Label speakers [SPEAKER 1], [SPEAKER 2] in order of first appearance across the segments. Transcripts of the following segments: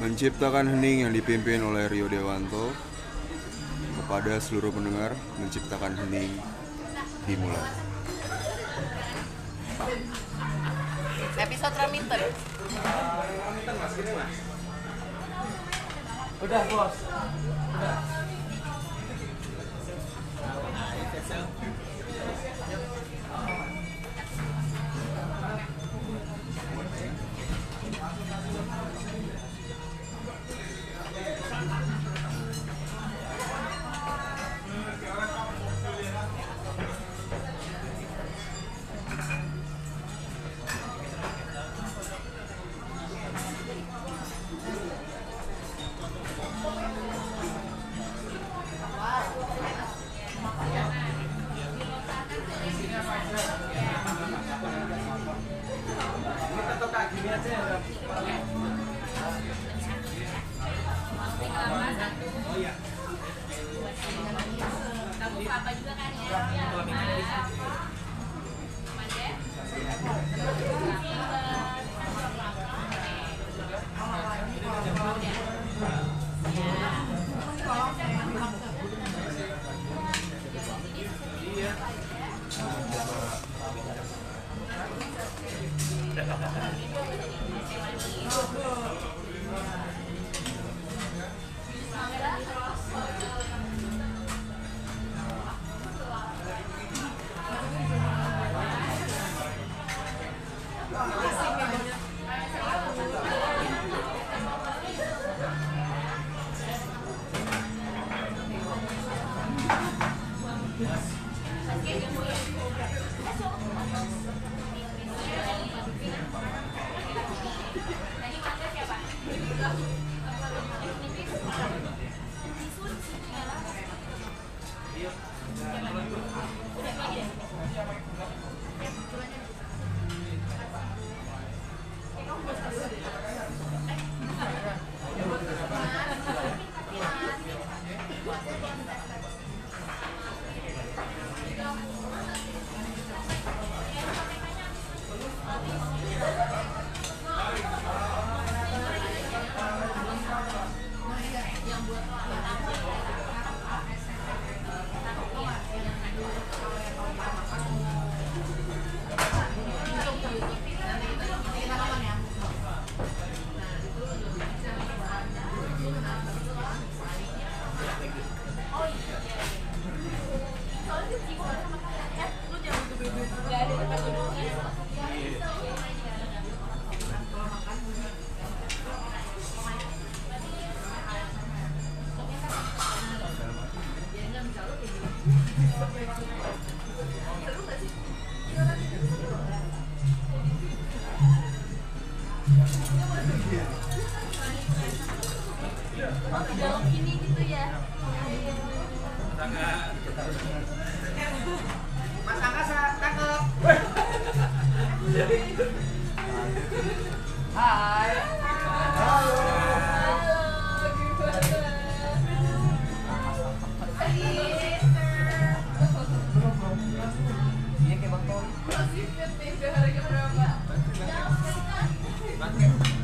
[SPEAKER 1] menciptakan hening yang dipimpin oleh Rio Dewanto kepada seluruh pendengar menciptakan hening dimulai
[SPEAKER 2] Episode Raminten.
[SPEAKER 3] Udah bos.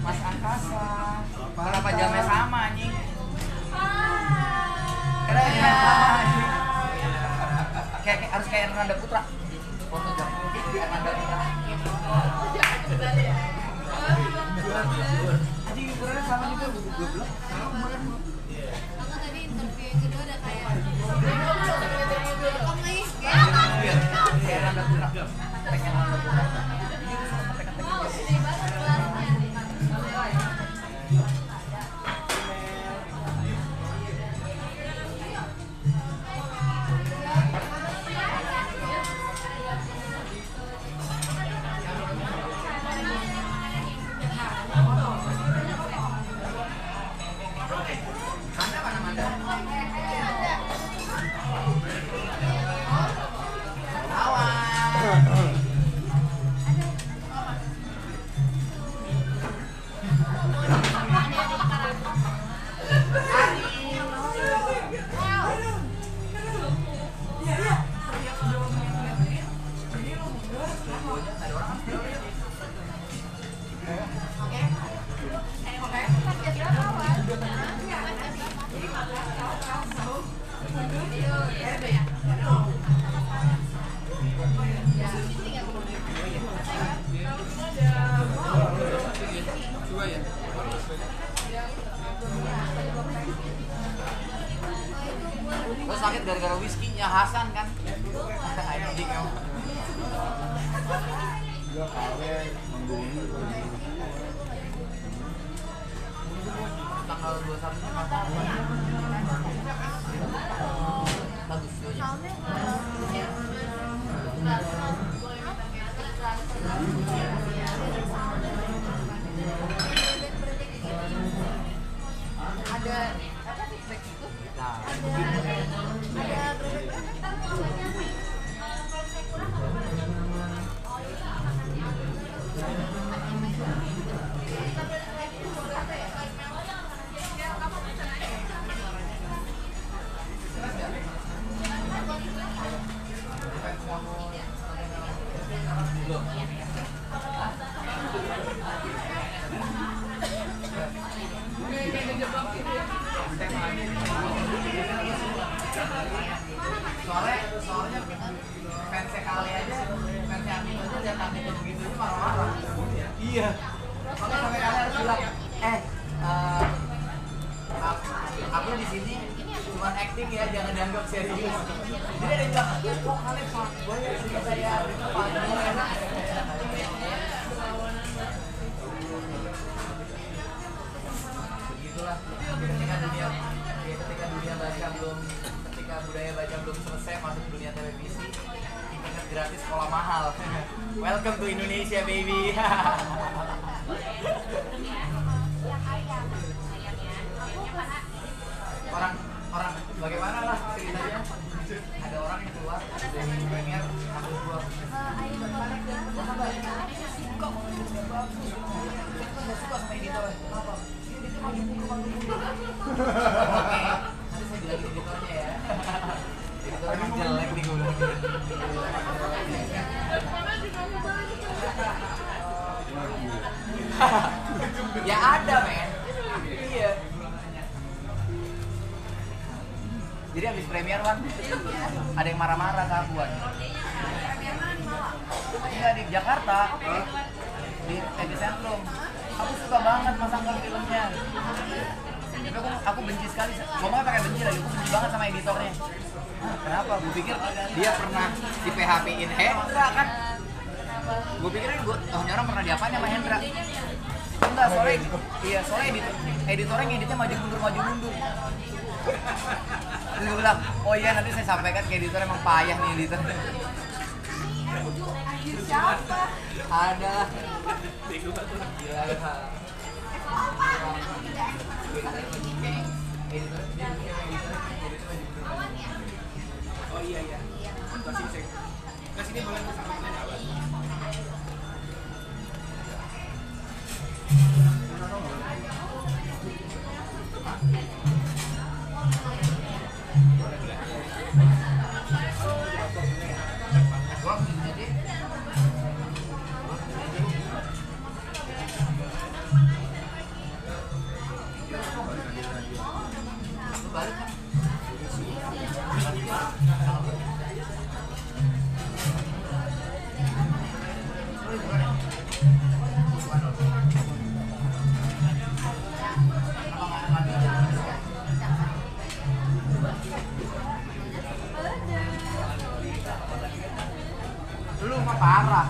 [SPEAKER 3] Mas Angkasa. Kenapa jamnya sama anjing? Keren ya. Kayak kayak- harus kayak Ernanda Putra. Foto jam. Ernanda Putra. Anjing ukurannya sama juga goblok.
[SPEAKER 4] Aku tadi interview yang kedua udah kayak Kamu lagi kayak
[SPEAKER 3] Kayak Ernanda Putra. Pengen Ernanda Putra.
[SPEAKER 4] Wow, gede banget kelasnya
[SPEAKER 3] Oke, dua ya lo sakit gara-gara whiskynya Hasan kan anjing emang. tanggal 21 nya mata apa? bagus videonya.
[SPEAKER 4] ada apa feedback itu
[SPEAKER 3] nah
[SPEAKER 4] ada berapa
[SPEAKER 3] soalnya soalnya fansnya kali aja fansnya Amino aja lihat Amino begitu aja marah-marah iya makanya sampai kalian harus bilang eh eh, aku, aku di sini cuma acting ya jangan dianggap serius jadi ada yang bilang ya kok kalian pak gue ya sih saya itu pak gue enak begitulah ketika dunia ketika dunia baca belum ketika budaya baca belum selesai masuk dunia televisi internet gratis sekolah mahal welcome to Indonesia baby orang orang bagaimana lah ceritanya ada orang yang keluar dari premier aku keluar Kenapa, Mbak? Kok nggak bagus? Aku nggak suka sama editornya. Kenapa? Ini dia cuma dipukul-pukul. Oke, nanti saya bilangin editornya ya. Editor emang jelek nih, gue bilang. Ya ada, men. Iya. Jadi habis premier kan ada yang marah-marah ke aku kan. Enggak Iya, di Jakarta. Di TG Centrum. Aku suka banget masakan filmnya. Tapi aku, aku benci sekali. Ngomongnya pakai benci lagi. Aku benci banget sama editornya. Hah, kenapa? Gue pikir dia pernah di PHP-in He, enggak kan? Gue pikir gue, oh ini orang pernah diapain sama Hendra? Enggak, soalnya iya, soalnya editor, editornya ngeditnya maju mundur maju mundur. Terus gue bilang, oh iya nanti saya sampaikan ke editor emang payah nih editor.
[SPEAKER 4] siapa
[SPEAKER 3] Ada. Gila. Editor,
[SPEAKER 2] Oh iya iya. Bentar sini saya. Ke sini boleh ke sama saya nggak, Bang?
[SPEAKER 3] gua jadi Lu balik kan? lu mah parah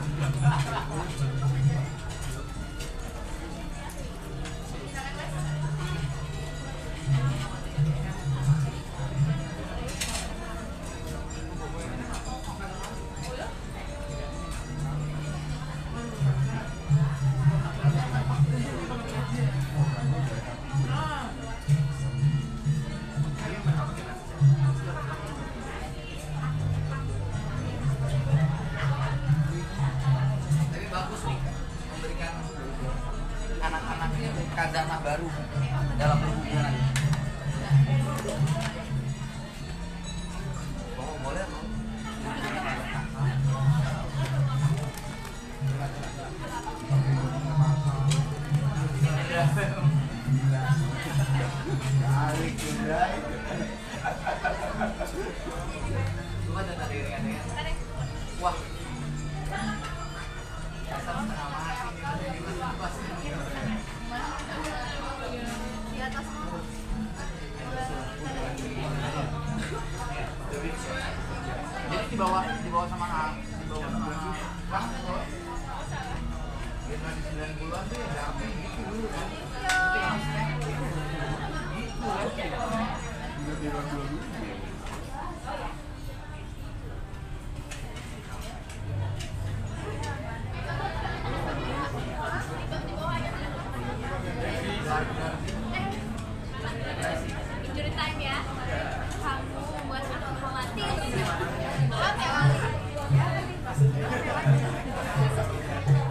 [SPEAKER 3] tapi bagus nih memberikan anak-anak ini kadanah baru dalam berhubungan oh boleh tuh Lu kan tadi ringan-ringan. Wah, Masa setengah mati nih, pas ini.
[SPEAKER 4] Mana
[SPEAKER 3] dibawa dibawa sama A- dibawa sama Kang, dibawa. generasi 90-an tuh ya rapi gitu dulu kan. Itu yang maksudnya. Gitu kan.
[SPEAKER 4] Injury time ya. Kamu buat aku khawatir. Apa ya, Wali?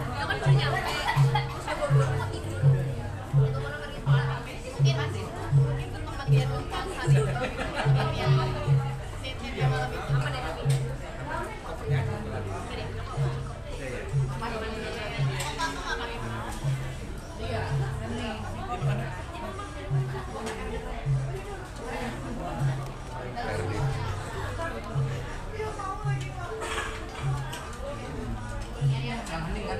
[SPEAKER 4] Aku kan baru nyampe. Terus aku baru mau tidur. Aku mau nemenin pulang. Ini mungkin masih mungkin untuk pembagian lumpang hari itu. Mungkin yang setnya dia malam itu. Apa deh tapi? Gede, aku mau cukup. Masih banyak. Apa aku nggak pakai mask?
[SPEAKER 1] RD
[SPEAKER 3] Yang penting kan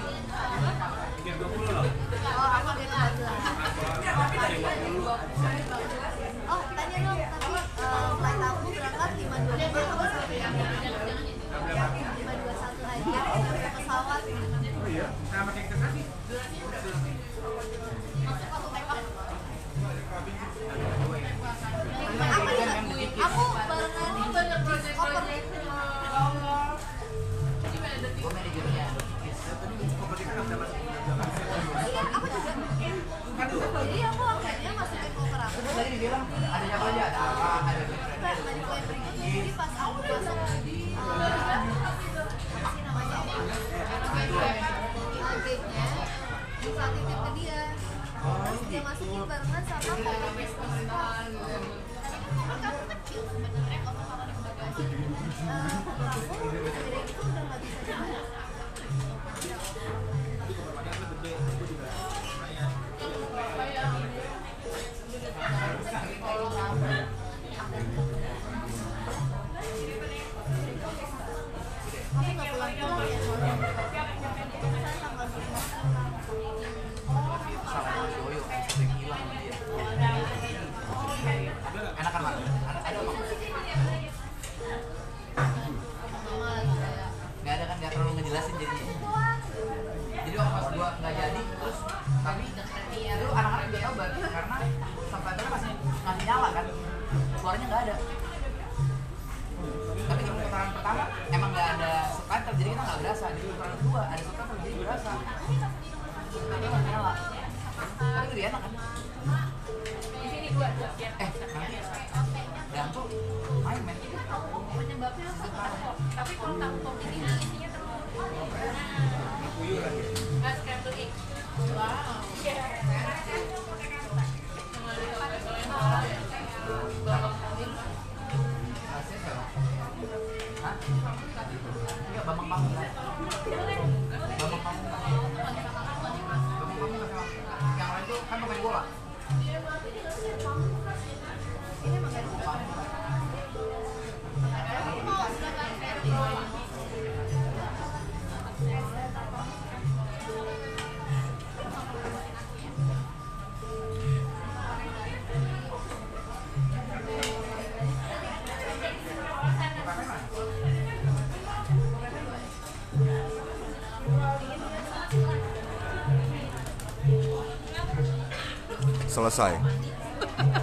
[SPEAKER 2] Tiga dua puluh loh.
[SPEAKER 4] Oh, aku ambil lagi lah. Oh, tanya dong, tapi eh, flight aku berangkat 525, aku sampai yang 521 aja, aku ke pesawat.
[SPEAKER 2] Nah pakai investasi.
[SPEAKER 4] Maksud aku tembak. Aku digangguin, aku barengan ini over
[SPEAKER 3] gue manajernya.
[SPEAKER 4] Iya, aku juga. Jadi aku akhirnya masukin cover aku.
[SPEAKER 3] Terus tadi dibilang ada siapa aja ada apa ada
[SPEAKER 4] Kayak nggak diklaim berikutnya, jadi pas aku masuk, eh, apa sih namanya? Eh, gate-nya, bisa titip ke dia. Terus dia masukin barengan sama cover business card. Tapi kan cover kamu kecil sebenarnya, cover kalau di bagasi. Eh, cover aku segede itu udah nggak bisa dibawa. Kamu nggak pulang-pulang ya soalnya? Saya tanggal 19.
[SPEAKER 3] sama Joyo yang hilang dia. Enak kan Mak? Ada ada apa?
[SPEAKER 4] Mama lagi kayak,
[SPEAKER 3] Nggak ada kan nggak terlalu ngejelasin jadinya. Jadi waktu pas gua nggak jadi terus tapi itu anak-anak juga tahu banget karena subtitle masih masih nyala kan suaranya nggak ada. Tapi di putaran pertama emang nggak ada subtitle jadi kita nggak berasa. Di putaran kedua ada subtitle jadi berasa. Tapi masih nyala. Tapi itu dia enak kan? Eh, nanti Danto main main
[SPEAKER 4] Penyebabnya aku nggak tahu. Tapi kalau tahu kok ini isinya terlalu Ah, scrambled egg.
[SPEAKER 3] Iya, Iya, Rasanya siapa? Hah? Enggak, Bambang Pamungkas. Bambang Pamungkas. Bambang Pamungkas emang. Yang lain tuh kan pemain bola.
[SPEAKER 4] Ini emang gak ada. Aku mau sebagai scrambled egg.
[SPEAKER 1] selesai